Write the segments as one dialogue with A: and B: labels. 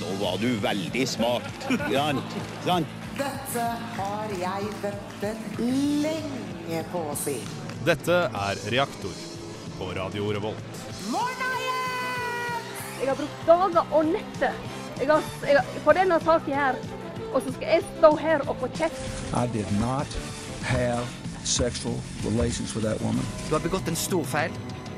A: Nå var du veldig smart. Sant? Sant?
B: Dette har jeg ventet lenge på å si.
C: Dette er Reaktor på Radio Revolt.
B: Morna igjen!
D: Jeg har brukt dager og netter jeg har, jeg har, på denne saken her. Og så skal jeg stå her og få kjeft.
E: I did not have sexual relations with that woman.
F: Du har begått en stor feil.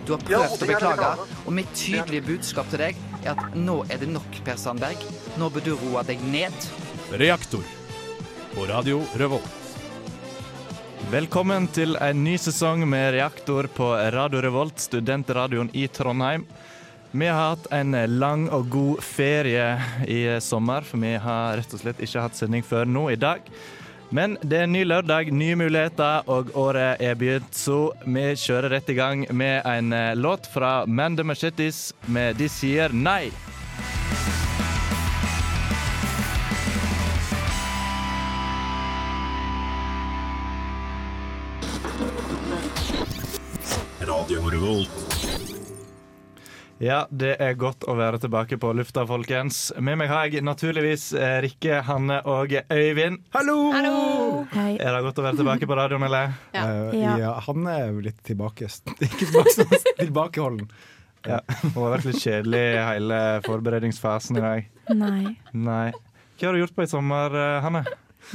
F: Du har prøvd å beklage. Og mitt tydelige budskap til deg er at nå er det nok, Per Sandberg. Nå bør du roe deg ned.
C: Reaktor på Radio Revolt.
G: Velkommen til en ny sesong med Reaktor på Radio Revolt, studentradioen i Trondheim. Vi har hatt en lang og god ferie i sommer, for vi har rett og slett ikke hatt sending før nå i dag. Men det er ny lørdag, nye muligheter, og året er begynt, så vi kjører rett i gang med en eh, låt fra Man the Machetes med De sier nei.
C: Radio Revolt.
G: Ja, det er godt å være tilbake på lufta, folkens. Med meg har jeg naturligvis eh, Rikke, Hanne og Øyvind. Hallo!
H: Hei.
G: Er det godt å være tilbake på radioen, eller?
I: Eh,
H: Ja.
I: ja, han er jo litt tilbake Ikke tilbake, sånn, tilbakeholden.
G: Ja. Hun har vært litt kjedelig i hele forberedningsfasen i dag.
H: Nei.
G: Nei. Hva har du gjort på i sommer, eh, Hanne?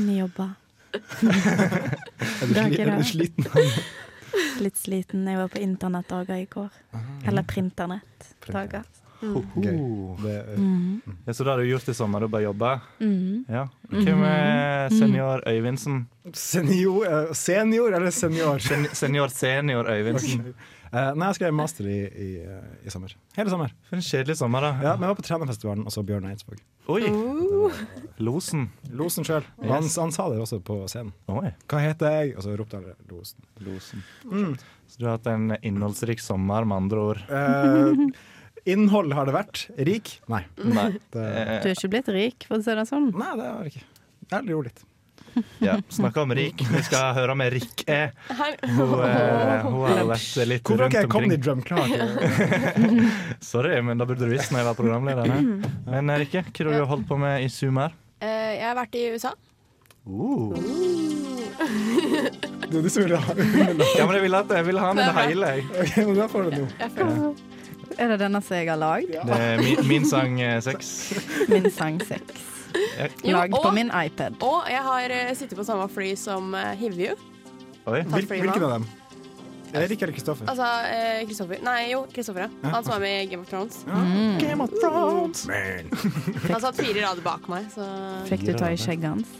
H: Ny jobba.
I: Er du,
H: Det er
I: sli,
H: ikke
I: er du
H: det.
I: sliten?
H: Litt sliten. Jeg var på internettdager i går. Eller printernettdager.
I: Gøy. Det, eh,
G: Ja, så det har du gjort i sommer, du bare jobba? Ja. Hvem er senior Øyvindsen?
I: senior, eh, senior eller senior?
G: Sen senior senior Øyvindsen.
I: Eh, nei, jeg skrev master i, i, eh, i sommer. Hele sommer.
G: For en kjedelig sommer, da.
I: Ja, men jeg var på Trenerfestivalen og så Bjørn Eidsvåg.
G: Oi! Losen.
I: Losen sjøl. Han, han sa det også på scenen.
G: Oi.
I: Hva heter jeg? Og så ropte alle Losen.
G: Så du har hatt en innholdsrik sommer, med andre ord.
I: Eh, innhold har det vært. Rik? Nei.
G: Nei.
I: Det,
H: Du er ikke blitt rik, for å si det sånn.
I: nei, det var det ikke. Jeg lo litt.
G: Ja. Snakka om Rik. Vi skal høre om Rik er. Hun, eh, hun har vært litt
I: Hvorfor har
G: rundt
I: ikke
G: omkring.
I: jeg kommet i drømklar?
G: Sorry, men da burde du visst når jeg var programleder. ne? Men eh, Rikke, hva har du holdt på med i sommer?
J: Eh, jeg har vært i USA.
I: Det er du som vil ha underlag.
G: Ja, men jeg ville, at, jeg ville ha med det hele. jeg.
I: Ok, men da får du noe.
H: Er det denne som jeg har lagd?
G: Det er min, min sang eh, seks.
H: Min sang 6.
J: Jo,
H: Lagd på
J: og-
H: min iPad.
J: Og jeg har eh, sittet på samme fly som eh, Hivju.
G: Oi.
J: Tatt
I: Hvil,
J: flyet
I: hvilken
J: nå.
I: av dem? Erik eller Kristoffer?
J: Altså eh, Kristoffer. Nei, jo, Kristoffer, ja. Han som er med i Game of Thrones.
H: Mm.
I: Game of Thrones!
J: Han satt fire rader bak meg, så
H: Fikk du ta i skjegget hans?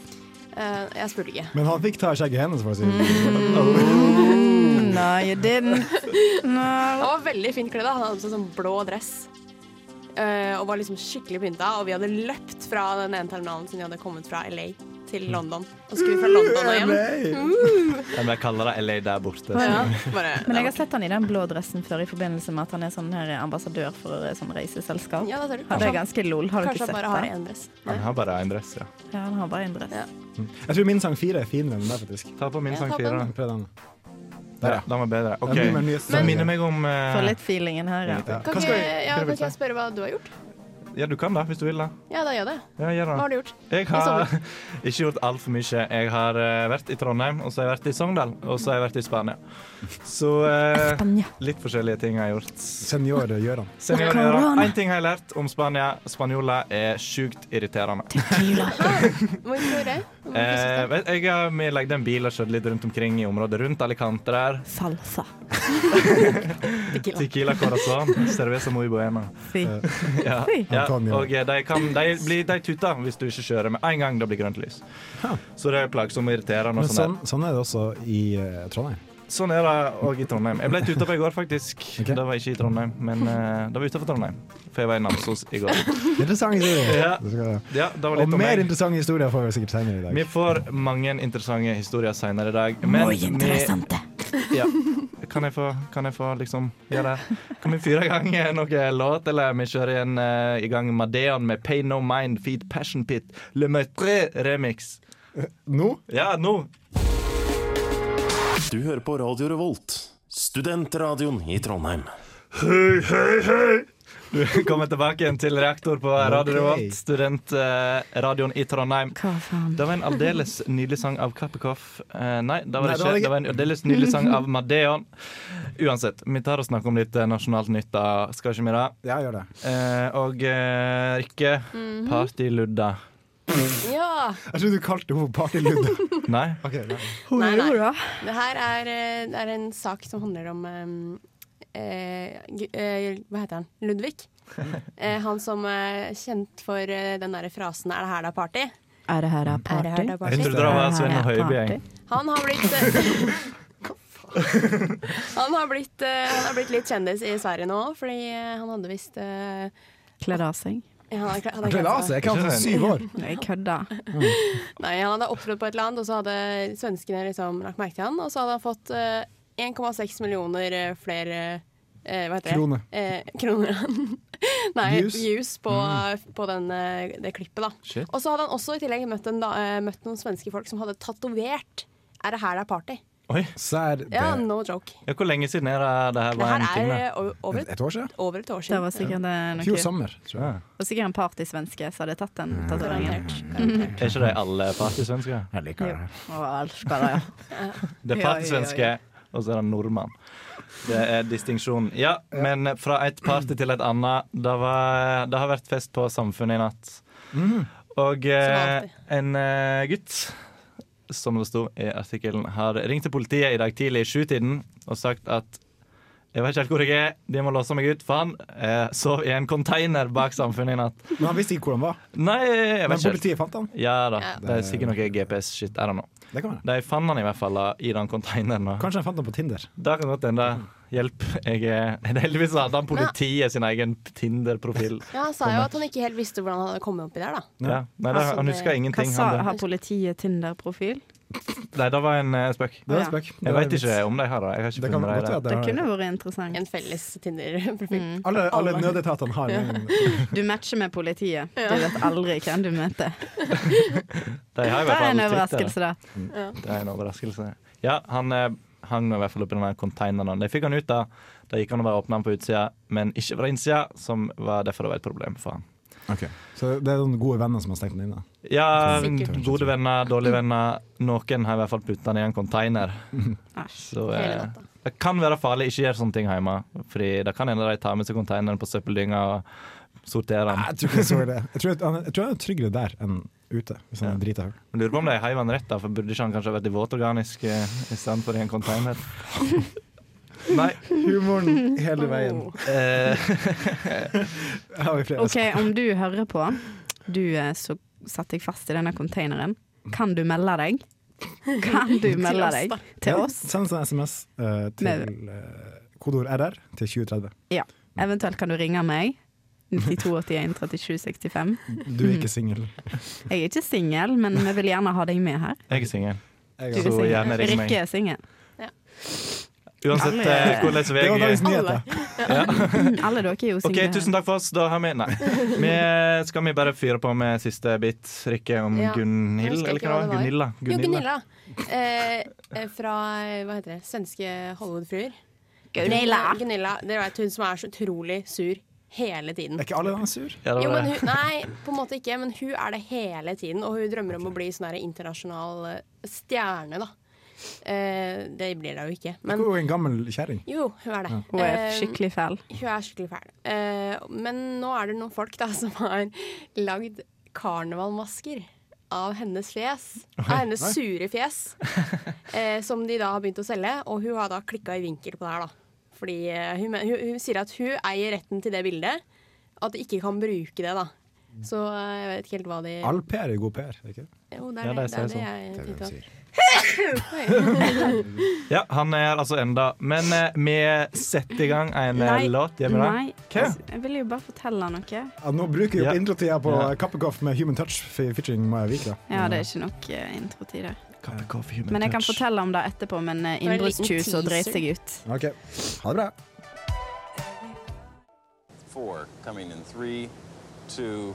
J: eh, jeg spurte ikke.
I: Men han fikk ta skjegget hennes, for å si
H: Mm.
I: det
J: Mm.
H: No, you didn't. No.
J: Han var veldig fint kledd. da. Han hadde på seg sånn blå dress. eh, og var liksom skikkelig pynta. Og vi hadde løpt fra den ene terminalen siden vi hadde kommet fra LA
H: Mm.
J: til London. Og så skulle vi fra London og hjem. Mm.
I: sånn.
G: Men jeg kaller det LA der borte. så-
J: Ja, bare,
H: Men jeg har sett han i den blå dressen før i forbindelse med at han er sånn her ambassadør for eh, sånn reiseselskap.
J: ja, da ser du.
H: Han er
J: Kanskje,
H: ganske lol. Har du
J: kanskje
H: ikke
J: han
H: sett
J: bare har
H: det?
J: én dress.
G: Han har bare én dress, ja.
H: Ja, han har bare en dress.
J: Ja.
I: Jeg tror min sang fire er finere enn den der, faktisk.
G: Ta på min
J: Ja,
G: sang
J: ta på
G: fire.
J: den.
I: Prøv den.
G: Der, ja. Den var bedre.
I: Den blir
G: OK.
I: min nye
G: Det
I: sang.
G: minner meg om eh,
H: Får litt feelingen her, ja.
I: Ja.
J: Kan
I: Hva
J: ikke,
I: skal vi-
J: ja,
G: hva vil
J: kan
G: du
J: ikke jeg spørre hva du har gjort?
G: Ja, du kan da, hvis du vil da.
J: Ja, da gjør jeg det.
G: Ja, gjør
J: Hva
G: det.
J: har du gjort?
G: Jeg
J: I
G: har
J: sommer?
G: ikke gjort altfor mye. Jeg har eh, vært i Trondheim, og så har jeg vært i Sogndal, og så har jeg vært i Spania. Så eh,
H: Spania.
G: litt forskjellige ting jeg har gjort.
I: Senior Gøran.
G: Seniorer, én ting har jeg lært om Spania. Spanjoler er sjukt irriterende.
J: Hvorfor det?
G: Eh, vet, jeg, har- vi legde en bil og kjørte litt rundt omkring i området rundt Alicante der.
H: Salsa.
G: Tequila corazón, cerveza muy buena. Eh,
H: Fy.
G: Ja,
H: Oi.
G: ja.
I: Han kan jo.
G: Og eh, de, kan, de, blir, de tuter hvis du ikke kjører med en gang det blir grønt lys. Så det er plagsomt og irriterende.
I: Men
G: Og sånn,
I: sånn, sånn er det også i eh, Trondheim.
G: der. sånn er det òg i Trondheim. Jeg ble tuta på i går, faktisk.
I: Ok.
G: Det var ikke i Trondheim, men eh, det var utenfor Trondheim. For jeg var i Namsos i går.
I: Interessant historie.
G: Ja.
I: Det skal-
G: Ja, det var
I: Og
G: litt om
I: mer
G: meg.
I: interessante historier får vi sikkert senere i
G: Vi
I: dag.
G: får mange interessante historier seinere i dag. Men vi- ja. Kan jeg få, kan jeg få liksom gjøre det? Kan vi fyre i gang eh, noe låt, eller vi kjører igjen eh, i gang Madeon med Pay No Mind, Feed Passion Pit, Le Maitre remix.
I: Nå
G: Ja, nå!
K: Du hører på Radio Revolt, studentradioen i Trondheim.
G: Hei, hei, hei! Du kommer tilbake igjen til reaktor på Radio
I: Ok.
G: Revolt, studentradioen i Trondheim.
H: Hva faen?
G: Det var en aldeles nydelig sang av Kappekoff. Eh, nei, det var
I: Nei,
G: det ikke. Det var en aldeles nydelig sang av Madeon. Uansett, vi tar og snakker om litt eh, nasjonalt nytt, da. Skal ikke vi det?
I: Ja, gjør det.
G: Eh, og eh, Rikke, partyludda.
J: Ja!
I: Jeg trodde du kalte henne partyludda.
G: Nei?
I: Ok, nei.
J: Nei, nei. Det her er, eh, er en sak som handler om eh, eh, gu- eh, Hva heter han? Ludvig. Eh, han som er kjent for eh, den derre frasen 'er det her det er party'?
H: Er det her
J: Er det her
H: party?
J: det er
G: Jeg
J: party?
G: trodde det var altså Svein og Høibjeng.
J: Han har blitt eh, han, har blitt, eh, han har blitt litt kjendis i Sverige nå, fordi eh, han hadde visst eh,
H: Kledd av seg?
J: han hadde, han
I: Han
J: hadde
I: kledde
J: kledd
I: av
J: seg.
I: seg. Jeg kan få syv år.
H: Nei, jeg kødda.
J: Nei, han hadde opptrådt på et eller annet, og så hadde svenskene liksom lagt merke til han, og så hadde han fått eh, 1,6 millioner eh, flere eh, hva heter det?
I: Krone.
J: Eh, kroner. Nei,
I: Views. Mm.
J: views, på, på den, eh, det klippet, da.
G: Shit.
J: Og så hadde han også i tillegg møtt, en, da, eh, møtt noen svenske folk som hadde tatovert 'Er det her det er party?'
G: Oi,
I: Sær det
J: Ja, no joke.
G: ja, Hvor lenge siden er det det her
J: Det
G: var
J: her
G: en ting?
J: er
G: da?
J: eh, o- over, et-
I: Et år siden?
J: over et år
H: Det
J: siden.
H: var sikkert eh,
I: Fjor
H: noe
I: sommer, tror jeg.
H: Det var sikkert en partysvenske som hadde tatt den tatoveringen.
J: Garantert. garantert.
G: Er ikke de alle partysvensker?
I: Jeg liker det.
H: Å, elsker det, ja.
G: Det er
H: Ja, ja, ja.
G: partysvenske, og så er det nordmann. Det er distinksjonen. Ja, men fra et party til et annet. Det, var, det har vært fest på Samfunnet i natt. Og eh,
J: alltid.
G: en eh, gutt, som det sto i artikkelen, har ringt til politiet i dag tidlig i sjutiden og sagt at jeg vet ikke helt hvor jeg er, de må låse meg ut, for han eh, sov i en container bak Samfunnet i natt.
I: Men han visste ikke hvor han var.
G: Nei, jeg
I: Men
G: vet ikke helt.
I: politiet fant han.
G: Ja da,
J: Ja.
G: det er sikkert noe GPS-shit. I don't know.
I: Det kan være.
G: De fant han i hvert fall da, i den containeren. da.
I: Kanskje han fant han på Tinder.
G: Da kan godt hende. Hjelp. Jeg er Heldigvis hadde han politiet sin egen Tinder-profil.
J: Ja, han sa jo at han ikke helt visste hvordan han hadde kommet oppi der, da.
G: Ja. Nei, det,
H: Altså,
G: han huska
H: Hva
G: ingenting.
H: sa,
G: Han,
H: har politiet Tinder-profil?
G: nei, det var en eh, spøk.
I: Det var
H: Ja.
I: spøk. Det
G: Jeg
I: var
G: veit
I: vits.
G: ikke om de har det. Jeg har
I: Det
G: ikke
I: kan
G: funnet
I: godt
G: det. i
I: være
G: det.
I: det
H: Det
I: har
H: kunne vært interessant.
J: En felles Tinder-profil.
H: Mm.
I: alle, alle nødetatene har en
H: Du matcher med politiet. Du vet aldri hvem du møter.
G: De har i hvert
H: Det er en
G: fall Twitter.
H: overraskelse, da.
G: Det er en overraskelse. Ja, han eh, hang nå i hvert fall oppi den der containeren. De fikk han ut, da. Da gikk han og bare åpna den på utsida, men ikke fra innsida, som var derfor det var et problem for han.
I: Så det er noen gode venner som har stengt den inne.
G: Ja,
J: Sikkert.
G: gode venner, dårlige venner. Noen har i hvert fall putta den i en container.
H: Æsj.
G: Så,
J: Hele
G: eh,
J: natta.
G: det kan være farlig ikke gjøre sånne ting hjemme. Fordi det kan hende de tar med seg konteineren på søppeldynga og sorterer den.
I: Jeg tror ikke jeg så det. Jeg tror, at han, jeg tror han er tryggere der enn ute, hvis han er drita full.
G: Men Lurer på om de heiv den rett, da, for burde ikke han kanskje vært i våtorganisk eh, i stedet for i en container? Nei.
I: Humoren hele veien.
G: Eh,
I: Har vi
H: Oh.
I: flere?
H: OK, om du hører på, du eh, som satte deg fast i denne containeren, kan du melde deg? Kan du melde
J: oss,
H: deg
J: da.
H: til oss?
I: Send oss en SMS eh, til uh, kodeord RR til 2030.
H: Ja. Eventuelt kan du ringe meg. 9281 3765.
I: Du er ikke singel.
H: Jeg er ikke singel, men vi vil gjerne ha deg med her.
G: jeg er singel.
H: Du er
G: Så
H: singel.
G: gjerne ring meg.
H: Rikke er singel.
G: Uansett eh, hvordan
I: Det var
G: vei
I: dagens nyheter.
H: Alle dere er jo
G: OK,
H: single.
G: tusen takk for oss. Da har vi Nei. Vi eh, skal vi bare fyre på med siste bit, Rikke, om
J: Ja. Jeg
G: Gunhild,
J: husker
G: eller
J: ikke
G: hva det
J: hva det
G: var?
J: var.
G: Gunilla.
J: Jo, Gunilla. Eh, eh, fra eh, hva heter det, svenske Hollywood-fruer.
H: Gunilla.
J: Gunilla, Dere vet hun som er så utrolig sur hele tiden.
I: Er ikke alle da sur?
G: Ja, det
J: Jo,
G: var
J: men
G: det.
J: hun, nei, på en måte ikke, men hun er det hele tiden. Og hun drømmer om å bli sånn her internasjonal eh, stjerne, da. Eh, det blir hun jo ikke.
I: Hun
J: Men
I: er jo en gammel kjerring.
J: jo, hun er det.
H: Hun er
J: Eh,
H: skikkelig fæl.
J: Hun er skikkelig fæl. Eh, men nå er det noen folk da som har lagd karnevalmasker av hennes fjes. Av hennes sure fjes. Eh, som de da har begynt å selge. Og hun har da klikka i vinkel på det her, da. Fordi eh, hun, men- hun, hun sier at hun eier retten til det bildet. At de ikke kan bruke det, da. Så eh, jeg vet ikke helt hva de
I: All PR er god PR. ikke?
J: Jo, det
G: Ja,
J: er det,
G: de
J: det, er
G: sier
J: det
G: sånn.
J: jeg tenkte på.
G: Ja, han er altså enda Men eh, vi setter i gang en eh,
H: Nei.
G: låt. Gjør vi det?
H: Nei, altså,
G: Hva?
H: jeg ville jo bare fortelle noe.
I: Ja, nå bruker vi
G: Ja.
I: opp introtida på
G: Ja.
I: Kappekoff med Human Touch fe- featuring Maja Vik. da.
H: Ja, det er ikke nok eh, introtid der.
G: Kappekoff, human
H: Men jeg kan
G: touch.
H: fortelle om det etterpå, men eh,
J: var en liten
H: innbruddstyv som dreit
J: teaser.
H: seg ut.
I: Eh, OK. Ha det bra.
A: Four coming in three, two,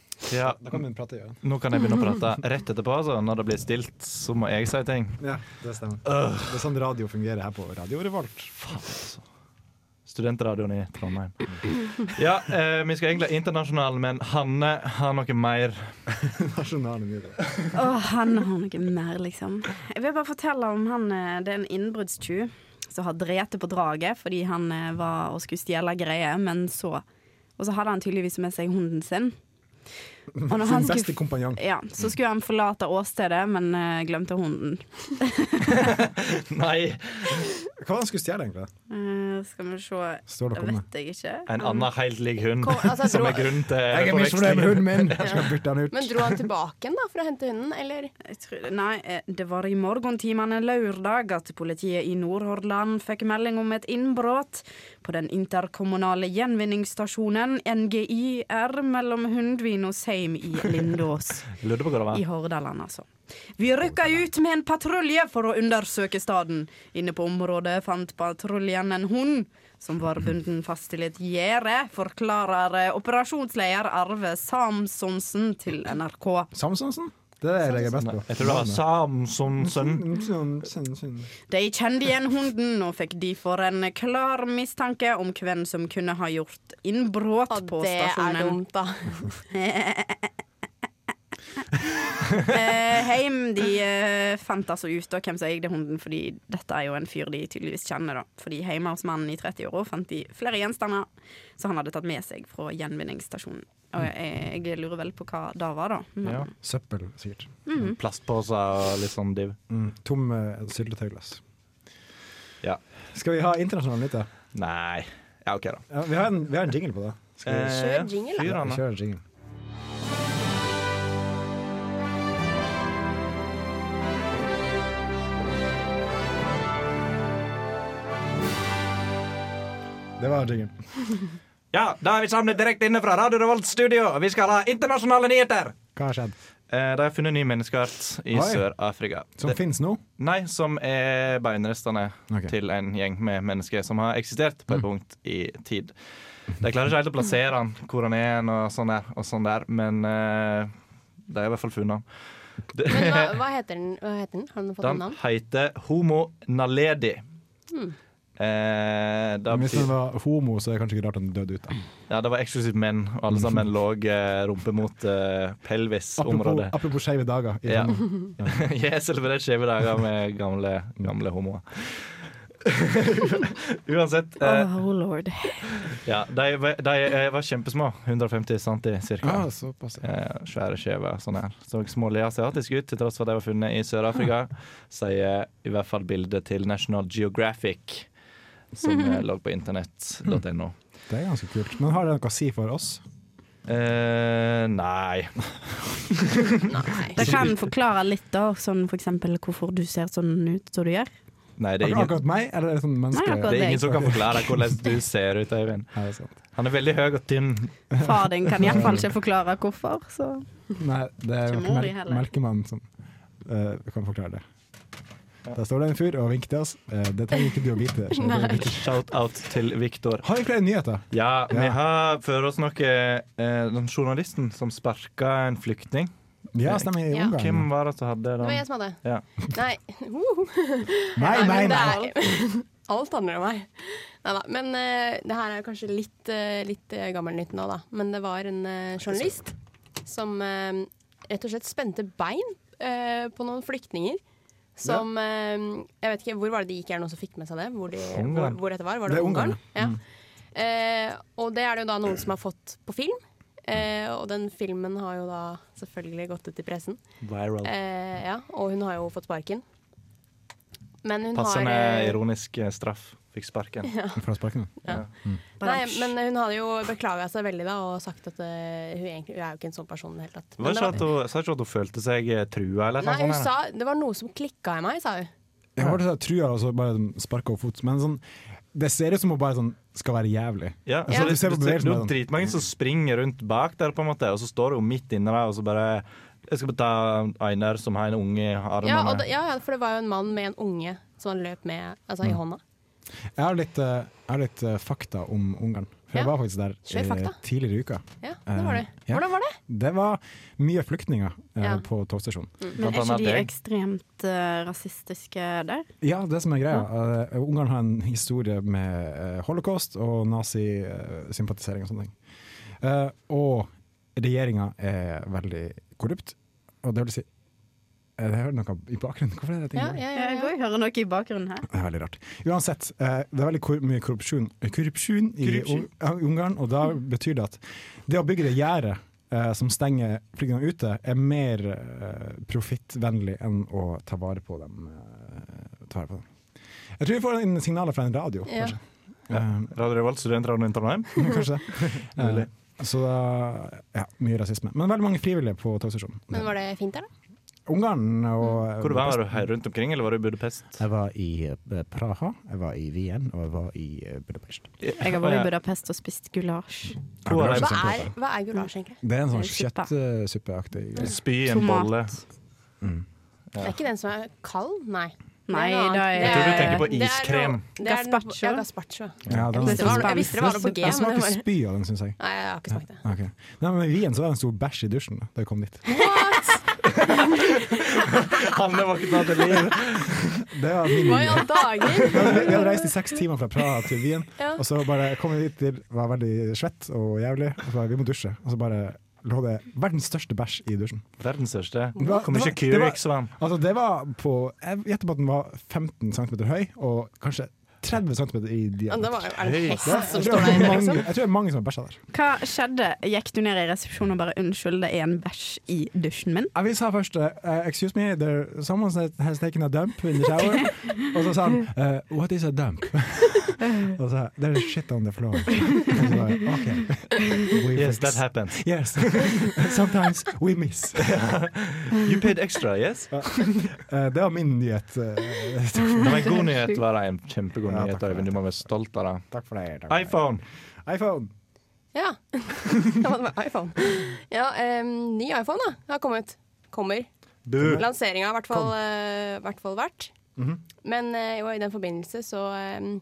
G: Ja.
I: Da kan vi prate i øret.
G: Nå kan jeg begynne å prate rett etterpå, så når det blir stilt, så må jeg si ting.
I: Ja, det stemmer.
G: Øh.
I: Det er sånn radio fungerer her på Radio Revolt.
G: Studentradioen i Trondheim. Ja, eh, vi skal egentlig internasjonale, men Hanne har noe mer.
I: Nasjonale sånn nyheter.
H: Å, han har noe mer, liksom. Jeg vil bare fortelle om han eh, Det er en innbruddstyv som har drept på draget fordi han eh, var og skulle stjele greier, men så Og så hadde han tydeligvis med seg hunden sin. Og når han
I: Sin beste
H: skulle-
I: kompanjong.
H: Ja, så skulle han forlate åstedet, men eh, glemte hunden.
G: Nei!
I: Hva var det han skulle stjele, egentlig?
H: Eh, skal vi se
I: Står det å komme?
H: Vet jeg ikke.
G: En annen helt lik hund,
J: Kom, altså,
G: som er
J: dro-
G: grunnen til
I: Jeg er misfornøyd med hunden min! Jeg skal bytte den ut.
J: Men dro han tilbake igjen da for å hente hunden, eller?
H: Jeg tror, nei, eh, det var i morgentimene lørdag at politiet i Nordhordland fikk melding om et innbrudd på den interkommunale gjenvinningsstasjonen NGIR mellom Hundvin og Seim i Lindås
G: Jeg Lurer på hva det var.
H: i Hordaland, altså. Vi rykka ut med en patrulje for å undersøke staden. Inne på området fant patruljen en hund som var bunden fast til et gjerde, forklarer eh, operasjonsleder Arve Samsonsen til NRK.
I: Samsonsen? Det er det jeg er best på. Mm, sånn,
G: Jeg tror det var Samsonsen.
I: Samsonsen.
H: De kjente igjen hunden og fikk derfor en klar mistanke om hvem som kunne ha gjort innbrudd
J: Å,
H: på
J: det er
H: stasjonen.
J: dumt, da.
H: Eh, Heim de eh, fant altså ut da, hvem som eide hunden, fordi dette er jo en fyr de tydeligvis kjenner. da. Fordi Hjemme hos mannen i 30-åra fant de flere gjenstander som han hadde tatt med seg fra gjenvinningsstasjonen. Og jeg, jeg lurer vel på hva det var, da.
I: Mm.
H: Men-
G: Ja.
I: Søppel, sikkert.
H: Mhm.
G: Plastposer og litt sånn div.
I: Mm, Tom uh, syltetøyglass.
G: Ja.
I: Skal vi ha internasjonale nyheter?
G: Nei. Ja, OK, da.
I: Ja, vi, har en, vi har en jingle på det. Skal vi
G: Eh, Kjør jingle, da. fyr
I: Ja,
G: han, da.
I: kjør en jingle. Det var jingen.
G: Ja, da er vi samlet direkte inne fra Radio Revolt studio. Vi skal ha internasjonale nyheter.
I: Hva har skjedd?
G: Eh, de har funnet ny menneskeart i
I: Oi.
G: Sør-Afrika.
I: Som
G: Det-
I: finnes nå?
G: Nei, som er beinrestene
I: Ok. Mm.
G: til en gjeng med mennesker som har eksistert på et punkt i tid. De klarer ikke helt å plassere han, hvor han er han og sånn der, og sånn der men eh, de har i hvert fall funnet han. Det-
J: Men hva, hva, heter den? hva heter den? Har den fått et
G: Den
J: navn?
G: heter Homo naledi.
J: Hmm.
G: Eh, det
I: Hvis den
G: betyr,
I: var homo, så er det kanskje ikke rart den døde ut. da.
G: ja, det var eksklusivt menn, og alle sammen lå eh, rumpe mot eh,
I: Apropos,
G: pelvis-området.
I: apropos skeive dager. i
G: Ja.
I: Trondheim.
G: Jeg har celebrert skjeve dager med gamle, gamle homoer. Uansett.
I: Ah.
G: Eh,
H: Oh lord.
G: ja, de, de eh, var kjempesmå. 150 centi cirka.
I: Ah, såpass. ja.
G: Eh, svære skjeve. Sånn her. Så smålig asiatiske ut, til tross for at de var funnet i Sør-Afrika, sier i hvert fall bildet til National Geographic, som eh, lå på
I: Hmm.
G: internett.no.
I: Det er ganske kult. Men har det noe å si for oss?
G: Eh, nei.
H: Det kan forklare litt, da, sånn for eksempel hvorfor du ser sånn ut som du gjør.
G: nei det, er
I: Akkurat,
G: ingen,
I: akkurat meg, eller er det sånn menneske?
H: Nei, akkurat
G: det er ingen
H: deg.
G: som kan forklare hvordan du ser ut, Øyvind.
I: Nei, det er sant.
G: Han er veldig høy og tynn.
H: Far din kan iallfall ikke forklare hvorfor, så
I: Nei, det er
H: Ikke
I: melk
H: mor i heller.
I: melkemannen som eh, kan forklare det. Der står det en fyr og vinker til oss. Eh, det trenger ikke du å vite. så det er viktig.
G: Shout-out til Viktor.
I: Har vi flere nyheter?
G: Ja,
I: Ja.
G: vi har for oss noe eh, Den journalisten som sparka en flyktning.
I: Ja, stemmer. I
J: Ja.
I: Ungarn.
G: Hvem var det som hadde
J: Det var jeg
G: den?
J: som hadde.
G: Sånn. Ja.
J: Nei. Uh.
I: Nei, nei,
J: men
I: nei.
J: det er- Alt handler om meg. Nei da. Men eh, det her er kanskje litt, uh, litt eh, gammelnytt nå, da. Men det var en eh, journalist som eh, rett og slett spente bein eh, på noen flyktninger. Som eh, Jeg vet ikke, hvor var det de gikk? Er det noen som fikk med seg det? Hvor, de, hvor,
G: Ungarn.
J: hvor dette var? Var det,
I: Det er Ungarn,
J: Ungarn? Ja. Eh, og det er det jo da noen som har fått på film. Eh, og den filmen har jo da selvfølgelig gått ut i pressen.
G: Viral.
J: Eh, ja, og hun har jo fått sparken. Men hun
G: Passende
J: har eh,
G: ironisk eh, straff. Fikk sparken.
J: Ja.
I: Fra sparken.
J: Ja.
I: Mm.
J: Nei, men hun hadde jo beklaga seg veldig da og sagt at eh, hun, egentlig, hun er jo ikke en sånn person i det hele tatt. Men
G: Var
J: det
G: ikke at hun, sa ikke at hun følte seg eh, trua, eller
J: nei,
G: noe
J: hun
G: sånt?
J: sa det var noe som klikka i meg, sa hun.
I: Jeg hørte sånn trua og så bare sparka over fot. Men sånn, det ser ut som hun bare sånn skal være jævlig.
G: Ja,
I: Altså,
G: så
I: du ser på
G: det, det,
I: bevegelsen
G: det
I: bare
G: er
I: sånn.
G: dritmange som springer rundt bak der, på en måte, og så står hun midt inne der og så bare Jeg skal bare ta Einar som har en unge i eh, armene.
J: Ja, og det, ja, ja, for det var jo en mann med en unge som han løp med altså, i hånda.
I: Jeg har litt, eh, jeg har litt eh, fakta om Ungarn. For Jeg
J: Ja.
I: var faktisk der
J: Kjør
I: eh,
J: fakta.
I: tidligere i uka.
J: Ja, det var det.
I: Eh, ja.
J: Hvordan var det? Mm.
I: Det var mye flyktninger eh,
H: Ja.
I: på togstasjonen.
H: Men er ikke de ekstremt eh, rasistiske der?
I: Ja, det som er greia. eh, Ungarn har en historie med eh, holocaust og nazisympatisering og sånne ting. Eh, og regjeringa er veldig korrupt. Og det vil si Eh, Jeg hører noe i bakgrunnen. Hvorfor er det ting? i bakgrunnen?
H: Eh, Jeg går og hører noe i bakgrunnen her.
I: Det er veldig rart. Uansett, eh, det er veldig kor mye korrupsjon, eh, korrupsjon i
H: Korrupsjon.
I: Ung- ja, Ungarn, og da betyr det at det å bygge det gjerdet eh, som stenger flygene ute, er mer eh, profittvennlig enn å ta vare på dem. eh, ta vare på dem. Jeg tror vi får en signaler fra en radio,
J: Ja.
I: kanskje.
G: Ja. Radio Revolt, studentradioen i Trondheim.
I: kanskje det. Eh, så da, ja, mye rasisme. Men veldig mange frivillige på togstasjonen.
J: Men var det fint der, da?
I: Ungarn og
G: Hvor var du her rundt omkring, eller var du i Budapest?
L: Jeg var i eh, Praha, jeg var i Wien og jeg var i eh, Budapest.
H: Jeg har vært i Budapest og spist gulasj.
I: Ja, det er
J: Hva
I: sånn
J: er, hva er gulasj, egentlig?
I: Det er en sånn
H: Suppe.
I: kjøttsuppeaktig greie.
G: Spy i en Tomat. bolle.
I: Mm.
J: Det er ikke den som er kald? Nei.
H: Nei,
J: Det er noe
H: det er-
J: annet.
H: Jeg tror du tenker på
J: Det er noe-
I: iskrem.
J: det er noe-
H: Gazpacho.
J: Ja, gazpacho.
I: Ja, den-
J: jeg, visste det var, jeg visste det var noe på G.
I: Jeg
J: men det
I: smaker
J: var-
I: spy av den, syns jeg.
J: Nei, jeg har ikke smakt det.
I: Ok. Nei, men I Wien så var det en stor bæsj i dusjen da da jeg kom dit.
G: Hanne var ikke tatt til liv.
I: Det var min
J: Hva i all
I: Vi hadde- vi hadde
J: dager?
I: reist i seks timer fra Praha til Wien,
J: Ja.
I: og så bare kom vi dit til var veldig svett og jævlig, og så bare vi må dusje. Og så bare lå det verdens største bæsj i dusjen.
G: Verdens største.
I: Det var-
G: Kommer
I: det var-
G: ikke
I: det var-
G: Curix, vann.
I: Altså, det var på Jeg gjetter på at den var 15 cm høy, og kanskje 30 cm i
H: Ja,
I: diameter.
H: det var jo- er det en
I: Høy.
H: hest
I: Det-
H: som
I: jeg tror
H: står der inne,
I: mange-
H: liksom?
I: Jeg tror det er mange som har bæsja der.
H: Hva skjedde? Gikk du ned i resepsjonen og bare 'unnskyld, det er en bæsj i dusjen min'?
I: Ja, Vi sa først eh, 'excuse me, there, someone that has taken a dump in the shower'. og så sa han eh, 'what is a dump?' og så sa jeg 'there's shit on the floor'. Og så bare, ok, we
G: Yes, that
I: fix."
G: happens.
I: Yes. Sometimes we miss.
G: You paid extra, yes?
I: Eh, det var min nyhet. eh, takk for
G: Det
I: meg.
G: var en god nyhet, var det. En kjempegod
I: Ja, takk
G: nyhet,
I: for
G: Øyvind. Du må være stolt av det.
I: Takk for det.
G: iPhone!
I: iPhone.
J: Ja. Det var det med iPhone. Ja, em, ny iPhone da, har kommet. Kommer.
G: Du.
J: Lanseringa har i hvert fall,
G: Kom.
J: eh, hvert fall vært.
G: Mhm.
J: Men eh, jo, i den forbindelse så em,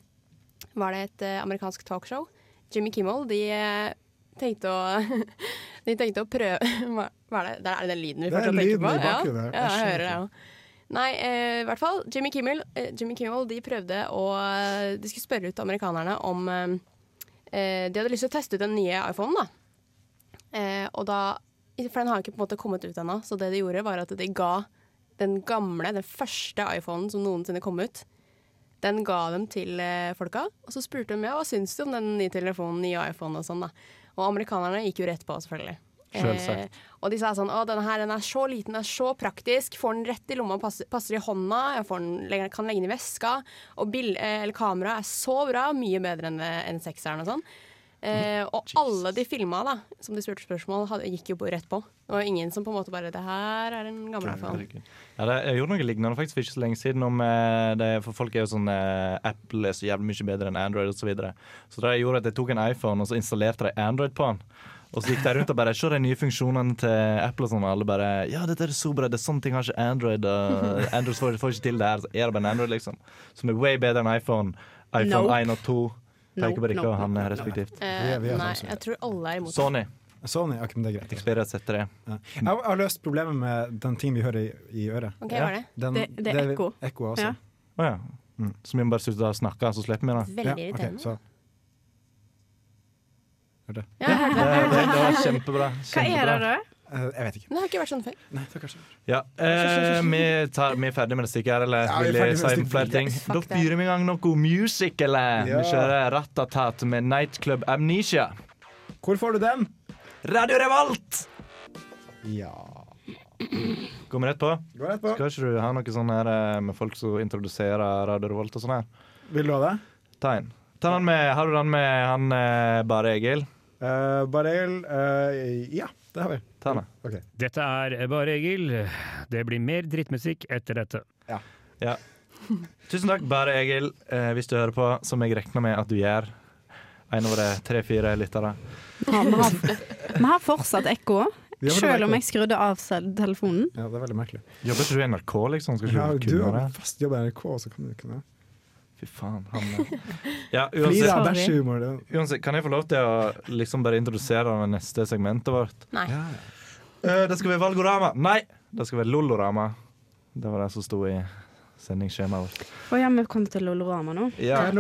J: var det et eh, amerikansk talkshow. Jimmy Kimmel, de eh, tenkte å De tenkte å prøve Hva hva er det? Der er det den lyden vi
M: Det er
J: fortsatt tenker
M: lyden
J: på?
M: i bakgrunnen her.
J: ja, ja, jeg
M: Jeg
J: hører det
M: skjønner
J: òg. Nei, eh, i hvert fall. Jimmy Kimmel, eh, Jimmy Kimmel de prøvde å eh, De skulle spørre ut amerikanerne om em, eh, De hadde lyst til å teste ut den nye iPhonen, da. Eh, og da, for den har ikke på en måte kommet ut ennå, så det de gjorde var at de ga den gamle, den første iPhonen som noensinne kom ut, den ga dem til eh, folka, og så spurte de ja, hva syns du om den nye telefonen, nye iPhone og sånn da. Og amerikanerne gikk jo rett på, selvfølgelig.
M: Selvsagt.
J: og de sa sånn å, denne her den er så liten, den er så praktisk, får den rett i lomma, passer, passer i hånda, jeg får den, legger- kan legge den i veska, og bil- eh, eller kameraet er så bra, mye bedre enn enn sekseren og sånn. Eh, og alle de filma da, som de spurte spørsmål, hadde, gikk jo på- rett på. Det var jo ingen som på en måte bare Det her er en gammel iPhone.
G: Ja, det, jeg gjorde noe lignende faktisk for ikke så lenge siden. Om, eh, det, for folk er jo sånn eh, Apple er så jævlig mye bedre enn Android osv. Så, videre. så det jeg gjorde at jeg tok en iPhone og så installerte de Android på den. Og så gikk de rundt og bare Se de nye funksjonene til Apple og sånn. Og alle bare Ja, dette er så bra. Det er sånne ting har ikke Android. Og Android får, får ikke til det her. Så er det bare en Android, liksom. Som er way bedre enn iPhone. iPhone
J: Nope.
G: 1 og 2. Peker
J: Nope,
G: på dere
J: nope,
G: og han
J: nope,
G: respektivt.
J: Eh, nei, jeg tror alle er imot. det.
G: Sony.
I: Sony, ja, men det er greit.
G: Xperia Z3.
I: Jeg har- jeg har løst problemet med den tingen vi hører i, i øret.
J: Ok, hva er det?
I: Den,
J: Det- det er ekko.
I: ekko også.
J: Ja.
G: Å ja. Så vi må bare slutte å snakke, så slipper vi det?
J: Veldig Ja, ok, irriterende. så-
I: Hørte
J: Ja, jeg hørte det.
G: Det, det, det var kjempebra. kjempebra.
I: eh, Jeg vet ikke.
J: Men det har ikke vært sånn før.
G: Ja, eh, vi, tar, vi er ferdig med det stykket her, eller
I: Ja, vi er
G: vil
I: ferdig
G: jeg
I: med
G: si
I: det stykket.
G: flere ting?
I: Yes, fuck
G: Da
I: det.
G: fyrer vi i gang noe music, eller?
I: Ja.
G: Vi kjører Ratatat med Nightclub Amnesia.
I: Hvor får du den?
G: Radio Revolt!
I: Ja.
G: Går vi rett på?
I: Går rett på.
G: Skal ikke du ha noe sånn her eh, med folk som introduserer Radio Revolt og sånn her?
I: Vil du ha det?
G: Ta en. Ta den med, har du den med han eh, Bare Egil?
M: Eh, Barel eh, Ja, det har vi.
G: Ta den.
M: Ok.
N: Dette er Bare Egil. Det blir mer drittmusikk etter dette.
G: Ja. Tusen takk, Bare Egil, eh, hvis du hører på, som jeg regner med at du gjør. En av våre tre-fire lyttere.
H: Ja, vi, har, vi har fortsatt ekko,
G: Ja, men det
H: selv
G: merker
H: om
G: jeg.
H: jeg skrudde av selv telefonen.
M: Ja, det er veldig merkelig.
G: Jobber ikke du i NRK, liksom? Skal ikke
M: Ja,
G: du
M: du
G: kunne
M: har
G: det?
M: fast jobb i NRK, så kan du ikke det.
G: Fy faen, han eh. ja,
M: Flir av
G: uansett,
M: bæsjehumor, det.
G: uansett, kan jeg få lov til å liksom bare introdusere det neste segmentet vårt?
J: Nei.
G: Eh, det skal være Valgorama. Nei, det skal være Lolorama. Det var det som sto i sendingsskjemaet vårt.
H: Å ja, vi kom til Lolorama nå.
G: Ja. Det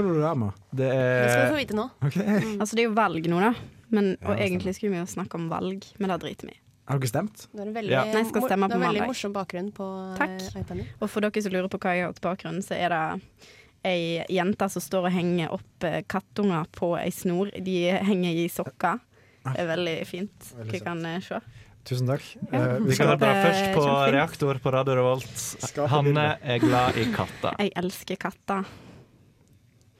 G: er
H: Det skal vi få
J: vite nå.
H: Altså, det er jo valg nå, da. Men,
M: Ja,
H: og
M: det
H: egentlig skulle vi jo snakke om valg, men det driter vi i.
M: Har dere stemt?
J: Det er en veldig,
H: Ja. Nei, jeg skal stemme
J: det er
H: på
J: veldig
H: mandag.
J: morsom bakgrunn på
H: Takk.
J: eh, iPaden.
H: Og for dere som lurer på hva jeg har til bakgrunn, så er det ei jente som står og henger opp eh, kattunger på ei snor. De henger i sokker. Det er veldig fint.
M: Veldig
H: Dere kan eh, se.
M: Tusen takk.
H: Ja.
M: Eh,
G: Vi skal høre
H: Skape-
G: først på
H: kjempefint.
G: Reaktor på Radio Revolt. Hanne er glad i katter.
H: Jeg elsker katter.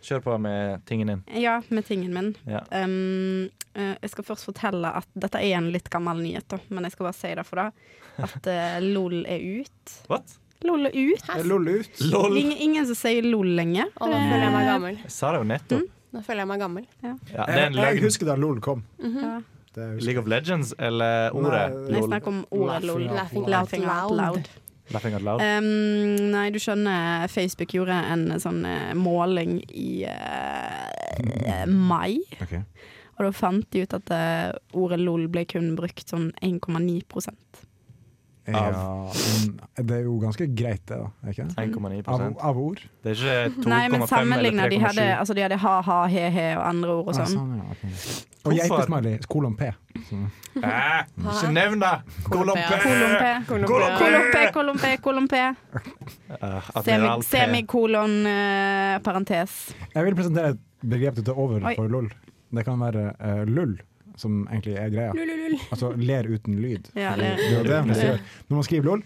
G: Kjør på med tingen din.
H: Ja, med tingen min.
G: Ja.
H: Um, eh, jeg skal først fortelle at dette er en litt gammel nyhet, da, men jeg skal bare si det for det. At eh, LOL er ut.
G: What?
H: LOL er ut.
J: Hæ?
M: LOL er ut.
H: Ingen, ingen som sier LOL lenger.
J: Og nå føler jeg meg gammel.
G: Jeg sa det jo nettopp.
J: Nå føler jeg meg gammel.
G: Ja,
M: Jeg,
G: det er en
M: Eh, jeg
G: løgn.
M: husker da LOL kom.
J: Mhm.
M: Det er
G: League of Legends eller ordet
M: Nei,
H: Nei,
G: LOL?
H: snakk om ordet LOL.
J: Laughing out
H: Laughing out
J: loud.
H: loud.
G: Laughing out loud.
H: Um, nei, du skjønner, Facebook gjorde en sånn eh, måling i eh, mai.
I: Ok.
H: Og da fant de ut at eh, ordet LOL ble kun brukt sånn 1,9 prosent.
I: Ja, men det er jo ganske greit, det, da. er Ikke? det?
G: 1,9
I: av, av ord.
G: Det er ikke 2,5
H: Nei, men sammenligna.
G: eller
H: De
G: 3,7.
H: hadde, altså, de hadde ha-ha, he-he og andre ord og
I: Ah,
H: sånn.
I: sånn, ja, ok. Og geitesmiley, kolon P. Så-
G: Hæ? Ikke nevn det! Kolompe!
H: Kolompe,
G: Kolompe!
H: kolompe, kolompe, kolompe.
G: Eh,
H: Semi-
G: Admiral P.
H: Semikolon, eh, parentes.
I: Jeg vil presentere et begrep du tar over
H: Oi.
I: for lol. Det kan være eh, lull, som egentlig er greia.
H: Lull, lull, lull.
I: Altså ler uten lyd.
H: Ja,
I: Fordi
H: ler.
I: det er jo det man
H: Ja.
I: gjør. Når man skriver lol,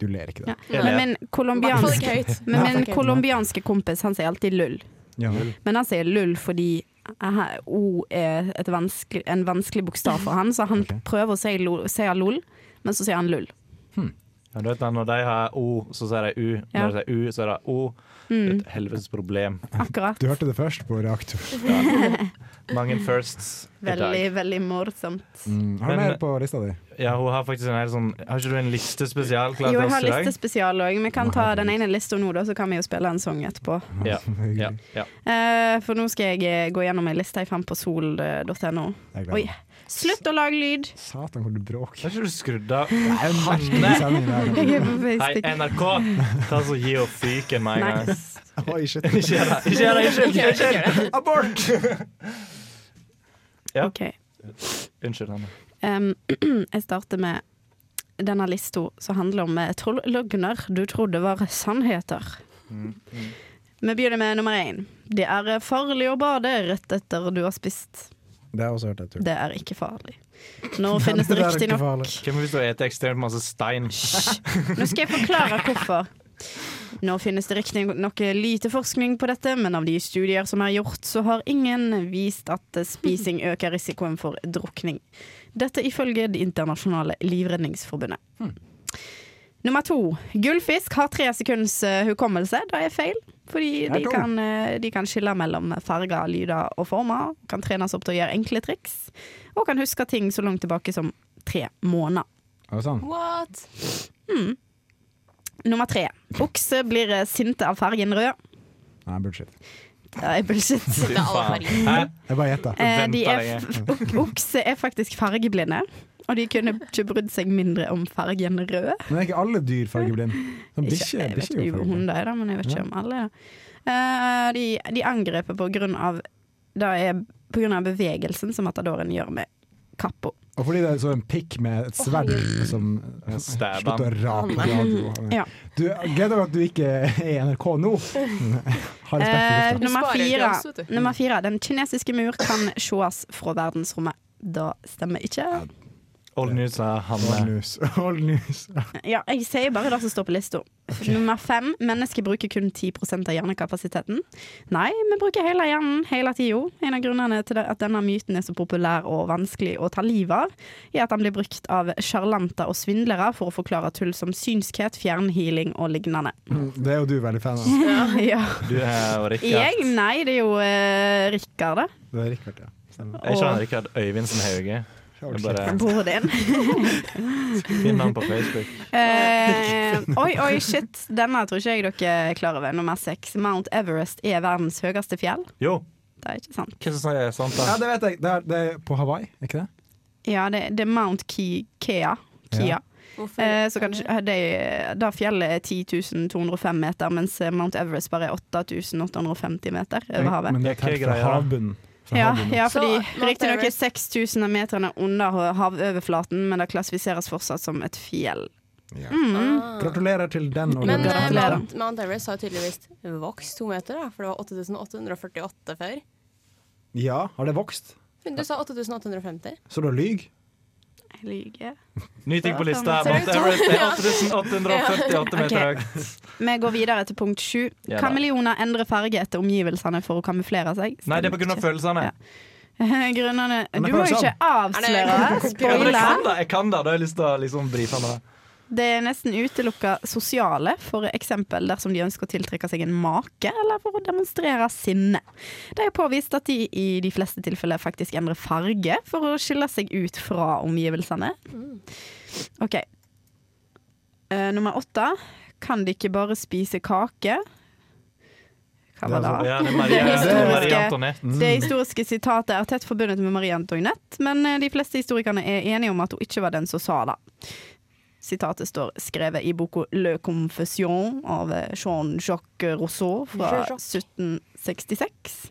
I: du ler ikke
H: Ja.
I: det.
H: Men min
J: Hvertfall ikke
H: kolombianske,
J: høyt.
H: men
J: Hvertfall
H: min
J: ikke høyt.
H: kolombianske kompis, han sier alltid lull.
I: Ja.
H: Men han sier lull fordi eh, O er et vanskelig, en vanskelig bokstav for han, så han prøver å si lo- si lol, men så sier han lull.
G: Ja, du vet da, Når de har O, så sier de U. Når
H: Ja. Mm.
G: de sier U, så er det O. Det er et helvetes problem.
H: Akkurat.
I: Du hørte det først på reaktor.
G: Mange firsts i dag.
H: Veldig, veldig morsomt.
I: Mm. Har du
G: Men- eh,
I: mer på lista di?
G: Ja, hun har faktisk en hel sånn Har ikke du en liste spesial klar
H: Jo,
G: til
H: jeg
G: oss
H: har
G: i dag?
H: listespesial òg. Vi kan ta den ene lista nå, da, så kan vi jo spille en sang etterpå.
G: Ja. ja, ja.
H: Eh, for nå skal jeg eh, gå gjennom ei liste jeg fant på eh, sol.no.
I: Jeg gleder
H: Oi.
I: meg.
H: Slutt å lage lyd!
I: Satan, hvor du bråker.
G: Har ikke du skrudd av
I: merkelig sending der.
H: Jeg er på
G: Hei,
H: Facebook.
G: NRK! Ta så Gi opp fyken med en gang.
I: Oi, shit.
G: Ikke gjør det! Ikke gjør det! Unnskyld!
I: Ikke gjør det,
G: unnskyld. Abort! Ja.
H: Ok.
G: Unnskyld, Hanne.
H: Um, jeg starter med denne lista som handler om eh, troll løgner du trodde var sannheter. Vi begynner med nummer én. Det er eh, farlig å bade rett etter du har spist.
I: Det har jeg også hørt. Jeg tror.
H: Det er ikke farlig. Nå finnes det riktignok
G: Hvem vil stå og ete ekstremt masse stein?
H: Nå skal jeg forklare hvorfor. Nå finnes det riktignok lite forskning på dette, men av de studier som er gjort, så har ingen vist at spising øker risikoen for drukning. Dette ifølge Det internasjonale livredningsforbundet. Nummer to. Gullfisk har tre sekunds eh, hukommelse. Det er feil. Fordi
O: Det er
H: de
O: to.
H: kan, eh, de kan skille mellom farger, lyder og former. Kan trenes opp til å gjøre enkle triks. Og kan huske ting så langt tilbake som tre måneder.
I: Er det sånn?
J: What?
H: Mm. Nummer tre. Okse blir eh, sinte av fargen rød.
I: Nei, bullshit.
H: Det er bullshit.
I: Jeg bare gjetta.
H: Eh, de er f- ok- okse er faktisk fargeblinde, og de kunne ikke brydd seg mindre om fargen rød.
I: Men er ikke alle dyr fargeblind? Sånn bikkje
H: jeg vet
I: bikkje er
H: ikke
I: jo
H: hvor
I: fargeblind.
H: hunder er, da, men jeg vet
I: Ja.
H: ikke om alle er det. Eh, de, de angriper på grunn av Det er på grunn av bevegelsen som matadoren gjør med kappa.
I: Og fordi det er så en pikk med et sverd som eh,
G: Stabba.
I: Slutt å rape på radio.
H: Ja.
I: Du, jeg gleder meg at du ikke er i NRK nå. Ha respekt
H: Eh,
I: for lufta.
H: nummer,
J: sparer
H: fire,
J: til oss, vet du.
H: nummer fire. Den kinesiske mur kan sees fra verdensrommet. Da stemmer ikke.
G: Old news er Hanne.
I: Old news. Old news.
H: Ja, jeg sier bare det som står på lista. Nummer fem. Mennesker bruker kun 10 av hjernekapasiteten. Nei, vi bruker hele hjernen hele tida. En av grunnene til det- at denne myten er så populær og vanskelig å ta livet av, er at den blir brukt av sjarlanter og svindlere for å forklare tull som synskhet, fjernhealing og lignende.
I: Det er jo du veldig fan av.
H: Ja. Ja.
G: Du er jo Rikard.
H: Jeg? Nei, det er jo eh, Rikard, det.
I: Det er Rikard, ja. Stemmer.
G: Er ikke han Rikard Øyvindsen Hauge? Det er Bare
H: Broren din.
G: finn han på Facebook.
H: Eh, oi, oi, shit. Denne tror ikke jeg dere er klar over. Nummer seks. Mount Everest er verdens høyeste fjell.
G: Jo.
H: Det er ikke sant.
G: Hva som sier sånt,
I: Ja,
G: da?
I: det vet jeg. Det er, det er på Hawaii, er ikke det?
H: Ja, det, det er Mount Ki Kea. Kia.
I: Ja.
H: Eh, så kanskje, eh, det, da fjellet er 10 205 meter, mens eh, Mount Everest bare er 8850 meter over havet.
I: Men det er telt fra havbunnen. Fra
H: Ja,
I: havbunnen.
H: ja,
J: Så
H: fordi
J: Mount
H: riktignok er
J: Everest-
H: 6000 av meterne under havoverflaten, men det klassifiseres fortsatt som et fjell. Mm.
I: Gratulerer til den. og
J: Men
I: den.
J: eh, Mount, Mount Everest har tydeligvis vokst to meter, da, for det var 8848 før.
I: Ja, har det vokst?
J: Men du sa 8850.
I: Så du lyg?
H: Jeg lyver.
G: Ny ting på lista.
H: Ser
G: Mount
H: du?
G: Everest er
H: Ja.
G: 8848 meter
H: Ok.
G: høyt.
H: Vi går videre til punkt sju.
G: Ja da.
H: Kameleoner endrer farge etter omgivelsene for å kamuflere seg.
G: Nei, det er på grunn av følelsene.
H: Grunnene
G: Men
H: Du
G: det
H: må
G: føles
H: jo ikke
G: sånn.
H: avsløre.
G: Ja, men jeg
H: Spoile.
G: kan det, jeg kan det. Da har jeg lyst til å liksom brife med det.
H: Det er nesten utelukka sosiale, for eksempel dersom de ønsker å tiltrekke seg en make, eller for å demonstrere sinne. Det er påvist at de i de fleste tilfeller faktisk endrer farge for å skille seg ut fra omgivelsene. OK. Eh, nummer åtte. Kan de ikke bare spise kake? Hva var
G: Det
H: det?
G: er altså- ja, det er Marie- det er Marie Antoinette.
H: det historiske sitatet er tett forbundet med Marie Antoinette, men eh, de fleste historikerne er enige om at hun ikke var den som sa det. Sitatet står skrevet i boka Le Confession av eh, Jean-Jacques Rousseau fra
J: Jean-Jacques.
H: 1766.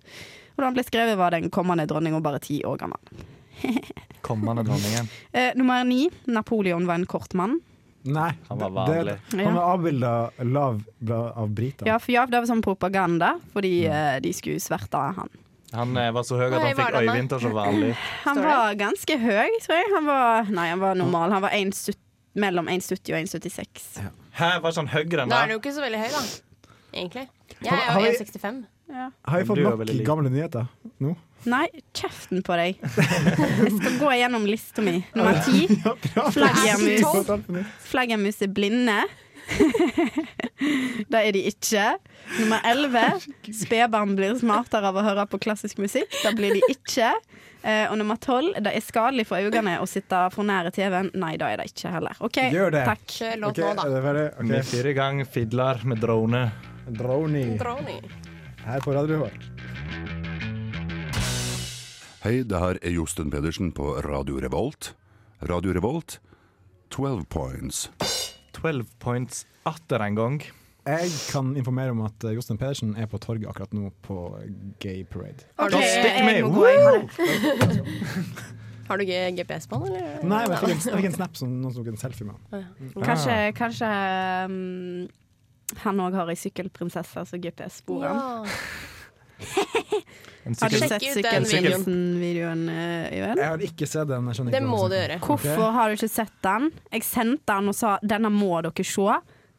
H: Og da han ble skrevet, var den kommende dronninga bare ti år gammel.
G: Kommende dronningen.
H: Eh, nummer ni. Napoleon var en kort mann.
I: Nei.
G: Han var
I: det-
G: vanlig.
I: Han var avbilda lav bla- av briter.
H: Ja, for ja, det var sånn propaganda,
G: Mm.
H: fordi eh, de skulle sverte han.
G: Han eh, var så høy at han fikk øyevind til å se vanlig ut.
H: Han var ganske høy, tror jeg. Han var, nei, han var normal. Han var 1,70 mellom 1,70 og 1,76.
G: Hæ, var sånn høyere enn
J: Da er den
G: det?
J: jo ikke så veldig høy, da. Egentlig. Jeg
I: Har-
J: er
I: har
J: jo
I: vi-
J: 1,65.
I: Har
G: Du
I: jeg fått
G: er
I: nok
G: veldig lik.
I: gamle nyheter nå?
H: Nei, kjeften på deg. Jeg skal gå gjennom lista mi. Nummer ti. Flaggermus. Flaggermus er blinde. det er de ikke. Nummer elleve. Spedbarn blir smartere av å høre på klassisk musikk. Det blir de ikke. Eh, og nummer tolv. Det er skadelig for øynene å sitte for nære TV-en. Nei, det er det ikke heller. OK,
G: Gjør det.
H: takk.
J: Kjør
I: Ok, er det ferdig? Ok.
G: Vi fyrer i gang fidler med drone.
I: Droni.
J: Droni.
I: Her på Radio Revolt.
O: Hei, det her er Josten Pedersen på Radio Revolt. Radio Revolt, 12 points.
G: 12 points atter en gang.
I: Jeg kan informere om at eh, Jostein Pedersen er på torget akkurat nå på Gay Parade.
J: Har du-
G: Da stikker vi!
J: jeg må gå, jeg har
G: Woo!
J: Har du ikke GPS på den, eller?
I: Nei, men jeg fikk en, jeg fikk en snap som noen tok en selfie med.
J: Å, ja.
H: Kanskje,
I: Ah.
H: kanskje mm, han òg har ei sykkelprinsesse som GPS-sporer han.
I: En
H: Har du
I: sykkel-
H: sett
I: Sjekk ut den
H: sykkelprinsessen-videoen, eh, Jørgen?
I: Jeg har ikke sett den. Jeg skjønner
H: Det
I: ikke hva
H: må
I: du snakker om.
H: Hvorfor
I: Ok.
H: har du ikke sett den? Jeg sendte den og sa 'denne må dere se'.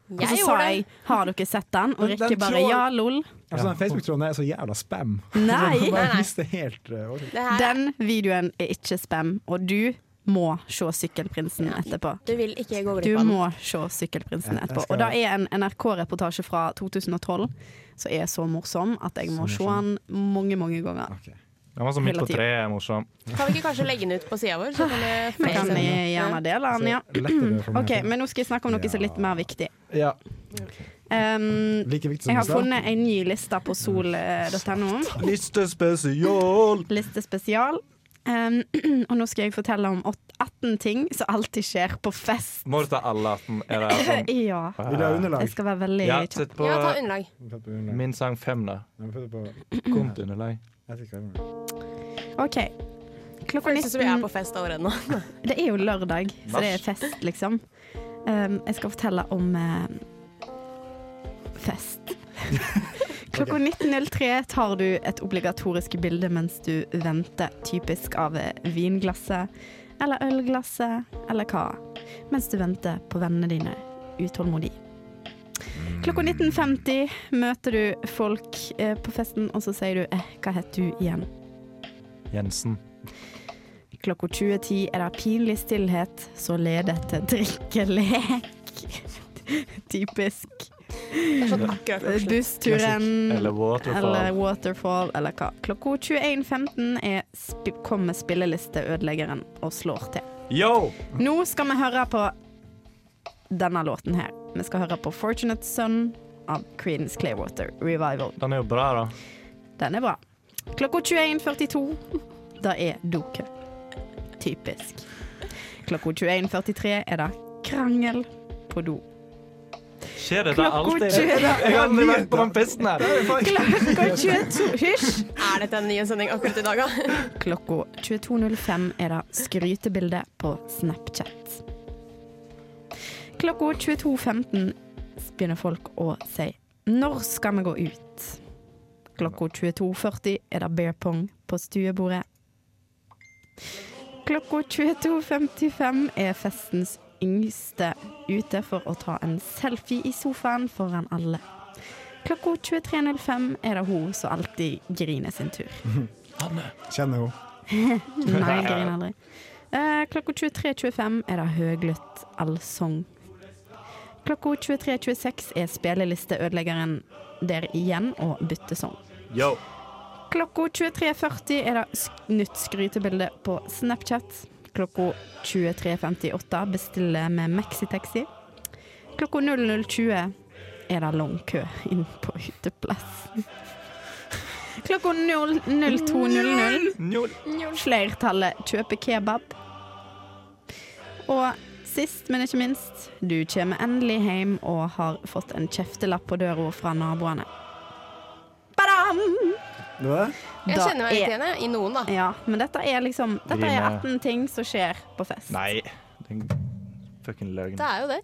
H: Og
J: Jeg
H: så
J: gjorde
H: sa
J: det.
H: jeg 'har dere sett den?' Og
I: Men den
H: Rikke bare
I: tror-
H: 'ja, lol'.
I: Altså, den Facebook-tråden der er så jævla spam.
H: Nei.
I: Jeg
H: Nei,
I: bare
H: nei.
I: mister helt eh, oversikt.
H: Den videoen er ikke spam, og du må se Sykkelprinsen etterpå.
J: Du vil ikke gå glipp
H: Du
J: av den.
H: må se Sykkelprinsen
J: Ja, jeg
H: etterpå.
J: skal-
H: Og det er en NRK-reportasje fra 2012 som er så morsom at jeg må
G: Så
H: se den
G: morsom.
H: mange, mange ganger.
G: Den var sånn midt
H: Hele
G: på
H: tida.
G: treet, morsom.
J: Kan vi ikke kanskje legge den ut på sida vår? Så kan det
H: Vi kan
J: flere se den?
H: gjerne dele den, ja.
I: Så lettere for meg.
H: OK, men nå skal jeg snakke om noe som er litt mer viktig.
I: Ja.
H: Um,
I: Like viktig som
H: jeg har
I: USA.
H: funnet en ny liste på sol.no.
G: Listespesial!
H: Liste spesial. Um, og nå skal jeg fortelle om åt- 18 ting som alltid skjer på fest.
G: Må du ta alle 18? Er det sånn?
H: Ja.
I: Ah.
G: Vil du ha underlag?
H: Jeg skal være veldig
G: Ja,
H: kjapp.
G: sett på Ja, ta
J: underlag.
G: Min sang fem, da. Kom til underlag.
H: OK. Klokka
J: Føles det som vi er
H: 19
J: på fest allerede nå.
H: Det er jo lørdag, så det er fest, liksom. Um, jeg skal fortelle om eh, fest. Klokka 19.03 tar du et obligatorisk bilde mens du venter, typisk av eh, vinglasset. eller ølglasset, eller hva, mens du venter på vennene dine utålmodig. Klokka 19.50 møter du folk eh, på festen, og så sier du eh, 'hva heter du igjen'?
G: Jensen.
H: Klokka 20.10 er det pinlig stillhet, så leder til drikkelek. Typisk.
G: er sånn akkurat forslag.
H: Bussturen
G: Eller waterfall.
H: eller waterfall, eller hva. Klokka 21.15 er sp kommer spillelisteødeleggeren og slår til.
G: Yo!
H: Nå skal vi høre på denne låten her. Vi skal høre på 'Fortunate Son' av Creedence Clearwater Revival.
G: Den er jo bra, da.
H: Den er bra. Klokka 21.42, det er dokø. Typisk. Klokka 21.43 er det krangel på do.
G: Skjer det der
H: Klokka
G: alltid?
H: tjue, da.
G: Jeg har aldri vært på den festen her.
H: Klokka 22 Hysj!
J: Er dette en ny sending akkurat i dag, da?
H: Klokka 22.05 er det skrytebilde på Snapchat. Klokka 22.15 begynner folk å si 'Når skal vi gå ut?' Klokka 22.40 er det bear pong på stuebordet. Klokka 22.55 er festens yngste ute for å ta en selfie i sofaen foran alle. Klokka 23.05 er det hun som alltid griner sin tur.
I: Kjenner hun.
H: Nei, jeg griner aldri. Eh, klokka 23.25 er det høglytt allsang. Klokka 23.26 er spillelisteødeleggeren der igjen og bytter sang.
G: Yo!
H: Klokka 23.40 er det sk nytt skrytebilde på Snapchat. Klokka 23.58 bestiller vi Maxitaxi. Klokka 00.20 er det lang kø inn på uteplass. Klokka 0- 02.00 flertallet kjøper kebab. Og sist, men ikke minst, du kommer endelig hjem og har fått en kjeftelapp på døra fra naboene. Badam!
P: Det var det?
J: Jeg
H: Da
J: kjenner meg litt
H: er-
J: igjen jeg, i noen, da.
H: Ja, men dette er liksom Dette er
G: Grine.
H: 18 ting som skjer på fest.
G: Nei. Den fucking løgn.
J: er jo det.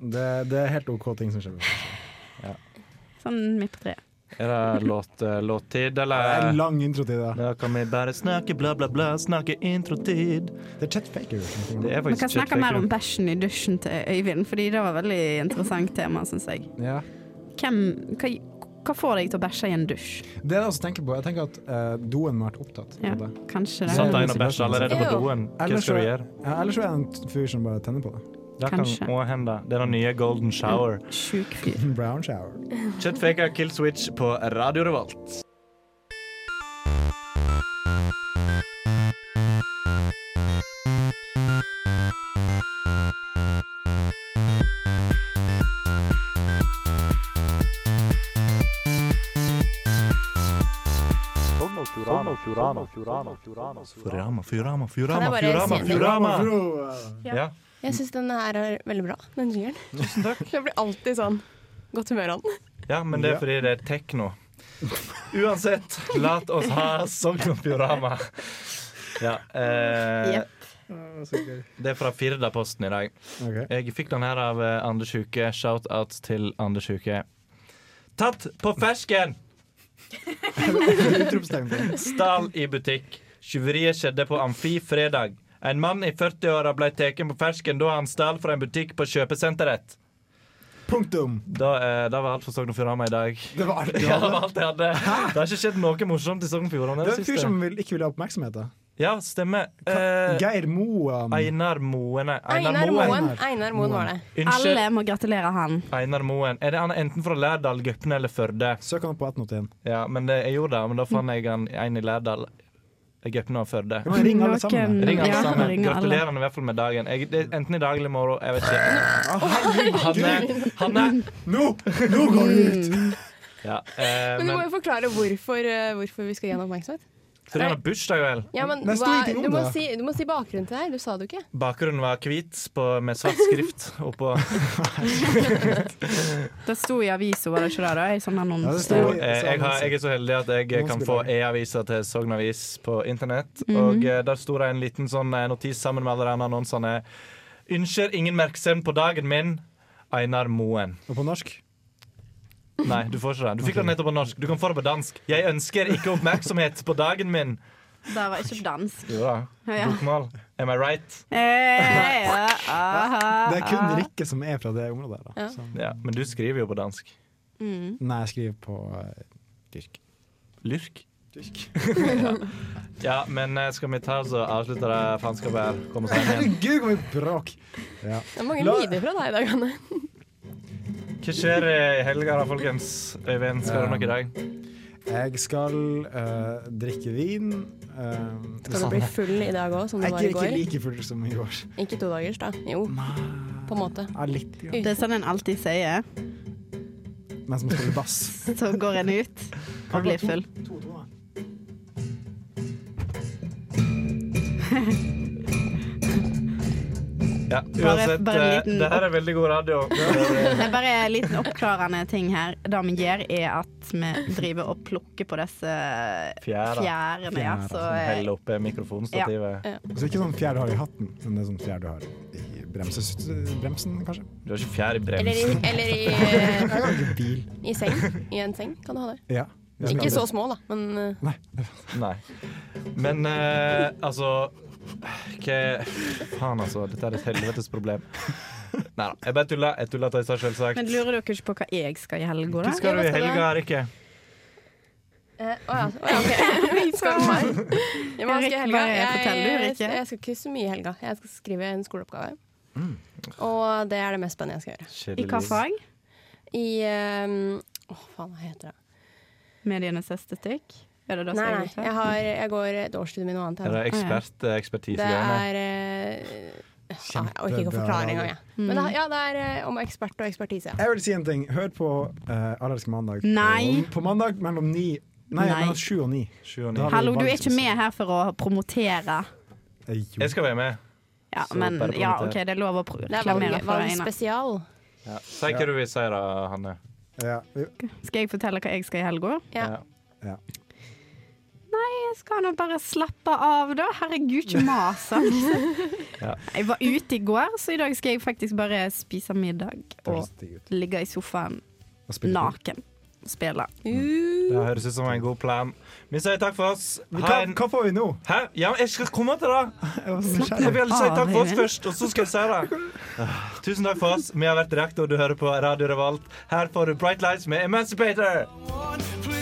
I: Det, det er helt OK ting som skjer.
G: Ja.
H: Sånn midt på treet.
G: Er det låt, eh, låttid, eller?
I: Det er lang introtid, da.
G: Da kan vi bare snakke bla, bla, bla, snakke introtid.
I: Det er Chet Faker.
G: Det er
H: Vi
G: faktisk
H: kan
G: Chet
H: snakke mer om
G: Faker.
H: bæsjen i dusjen til Øyvind, fordi det var et veldig interessant tema, syns jeg.
I: Ja.
H: Hvem, hva, hva får deg til å bæsje i en dusj?
I: Det er det jeg også tenker på. Jeg tenker at eh, doen må ha vært opptatt.
H: Ja,
I: av det.
H: kanskje det.
G: Satt deg inn og bæsja allerede på
H: Ew.
G: doen. Hva
I: Ellers
G: skal du
I: så-
G: gjøre?
I: Ja, ellers så er det en fyr som bare tenner på det.
G: Det kan
I: Kanskje.
G: også hende. Det er den nye golden shower.
H: Sjuk fyr.
I: Brown shower.
G: Chet Faker Kill Switch på Radio Revolt. Furama, Furama,
J: Kan jeg
G: Furama,
J: bare
G: Furama,
J: si en ting?
G: Furama!
I: eh,
J: Ja.
G: Ja.
J: Jeg syns den her er veldig bra, den jingeren.
G: Tusen takk.
J: Jeg blir alltid sånn godt humør av den.
G: ja, men det er fordi det er tekno. Uansett, la oss ha Sogn og Fjordane. Ja, eh, det er fra Firdaposten i dag. Jeg fikk den her av eh, Anders Huke. Shout-out til Anders Huke. Tatt på fersken! Stal i butikk. Tjuveriet skjedde på Amfi fredag. En mann i 40-åra ble tatt på fersken da han stal fra en butikk på kjøpesenteret.
I: Punktum.
G: Da, eh, da var alt for Sogn og Fjordane i dag.
I: Det var alt du
G: ja,
I: hadde?
G: det var alt jeg hadde. Det har ikke skjedd noe morsomt i Sogn og Fjordane.
I: Det
G: i
I: er en
G: det
I: fyr
G: siste.
I: som vil, ikke vil ha oppmerksomhet. da.
G: Ja, stemmer. Eh,
I: Geir Moan.
G: Einar Moen. nei,
J: Einar Moen. Einar Moen var det.
G: Unnskyld.
H: Alle må gratulere han.
G: Einar Moen. Er det han er enten fra Lærdal, Gøpne eller Førde?
I: Søk han på 1881.
G: Ja, men det, jeg gjorde det, men da fant jeg han en i Lærdal. Eh, Gøpne og Førde.
I: Ja, men ring alle sammen, da.
G: Ring alle
I: Ja,
G: sammen.
I: ring alle.
G: Gratulerer han i hvert fall med dagen. Jeg, det, enten i dag eller i morgen. Jeg vet ikke. Hanne! Hanne!
I: Nå! Nå går du ut!
G: Ja, eh,
J: Men du må
G: men,
J: jo forklare hvorfor, eh, hvorfor vi skal gi han oppmerksomhet.
G: fordi han har bursdag, vel?
J: Ja, men
G: Nei, sto
J: hva,
G: ingenting om
J: du, må
G: det.
J: si, du må si bakgrunnen til det her. Du sa det jo ikke.
G: Bakgrunnen var hvit på- med svart skrift oppå
H: Det sto i avisa, var det ikke det? da? I sånn annonse.
G: Og, eh, jeg, har, jeg er så heldig at jeg kan få e-aviser til Sogn Avis på internett. Og eh, der sto det en liten sånn eh, notis sammen med alle de andre annonsene. Ønsker ingen merksomhet på dagen min. Einar Moen.
I: Og på norsk?
G: Nei, du får ikke det. Du fikk det nettopp på norsk. Du kan få det på dansk. Jeg ønsker ikke oppmerksomhet på dagen min.
H: Det var ikke på dansk.
G: Jo da.
H: Ja.
G: Bokmål. Am I right?
H: Eh, ja,
J: Ah,
H: aha,
I: Det er kun
H: aha.
I: Rikke som er fra det området her. Da.
H: Ja.
I: Så.
G: Ja, men du skriver jo på dansk.
H: Mm.
I: Nei, jeg skriver på eh, dyrk.
G: Lyrk? ja. ja, men eh, skal vi ta oss og avslutte det faenskapet her? Kom oss hjem igjen.
I: Herregud, hvor mye bråk! Ja.
J: Det er mange
G: La-
J: lyder fra deg i dag, Anne.
G: Hva skjer i helga da, folkens? Øyvind, skal du noe i dag?
I: Jeg skal eh, drikke vin. eh,
J: Skal du bli full i dag òg, som du
I: Jeg
J: var i
I: er ikke
J: går?
I: like full som i går.
J: Ikke to dagers, da. Jo. På en måte.
I: Ja, litt.
H: Det er sånn en alltid sier.
I: Men som spiller bass.
H: Så går en ut og blir full.
G: Ja,
H: Bare-
G: uansett,
H: bare en
G: eh,
H: liten-
G: det her er veldig god radio.
H: Det er bare en liten oppklarende ting her. Det vi gjør, er at vi driver og plukker på disse
G: Fjæra.
H: fjærene. Ja, så,
G: Som
H: eh,
G: heller oppe mikrofonstativet.
H: Ja.
I: Så ikke sånn fjær du har i hatten, men det er sånn fjær du har i bremses, bremsen, kanskje.
G: Du har ikke fjær i
J: Eller i,
G: bremsen.
J: eller i,
I: Jeg har
J: eh,
I: ikke bil.
J: i seng. I en seng kan du ha det.
I: Ja.
J: Ikke så små, da, men eh,
G: Nei. Men eh, altså Hva Faen, altså. Dette er et helvetes problem. Nei da. Jeg bare tuller. Jeg tuller til seg, selvsagt.
H: Men lurer dere ikke på hva jeg skal i helga, da?
G: Hva skal du i helga, Rikke?
J: eh, Å ja. å ja, OK. Vi skal meg. Ja, men hva skal jeg i helga?
H: Bare fortell, du,
J: Jeg,
H: Rikke.
J: jeg skal ikke så mye i helga. Jeg skal skrive en skoleoppgave.
G: Mm.
J: Og det er det mest spennende jeg skal gjøre.
H: I hva fag?
J: I eh, Å, faen, hva heter det?
H: Medienes estetikk? Er det det
J: Nei,
H: som
J: nei.
H: jeg
J: Jeg, har, jeg går et årsstudium i noe annet.
G: Er det
J: jeg.
G: ekspert, eh,
J: Det
G: ekspertisegreiene?
J: er eh, ja, Jeg orker ikke å
I: Kjempebra
J: forklare engang,
I: radio.
J: jeg. Men det, ja, det er eh, om ekspert og ekspertise. Ja.
I: Jeg vil si en ting. Hør på uh, Allerske mandag.
H: Nei.
I: På, på mandag mellom ni Nei,
H: Nei.
I: mellom sju og ni. Da har vi
H: Hallo, du er
I: valg
H: ikke
I: som-
H: med her for å promotere.
G: Jeg skal være med.
H: Ja,
G: Så
H: men
G: bare
H: ja, OK,
G: promoter.
H: det er lov å pro-
J: Det er valg,
H: reklamere for det ene.
J: valgspesial.
G: Ja. Si hva du vil si da, Hanne.
H: Skal jeg fortelle hva jeg skal i helga?
J: Ja.
I: Ja.
H: Nei, jeg skal nå bare slappe av, da. Herregud, ikke mas. altså.
G: Ja.
H: Jeg var ute i går, så i dag skal jeg faktisk bare spise middag og
G: høres
H: ligge i sofaen
I: Og spille
H: naken. og Spille.
G: Det høres ut som en god plan. Vi sier takk for oss.
I: Men Hva, hva får vi nå?
G: Hæ? Ja, men jeg skal komme til det! Jeg vil si takk for oss først, og så skal jeg si det. Ah, Tusen takk for oss. Vi har vært Reaktor. Du hører på Radio Revolt. Her får du Bright Lights med Emancipator.
Q: Please.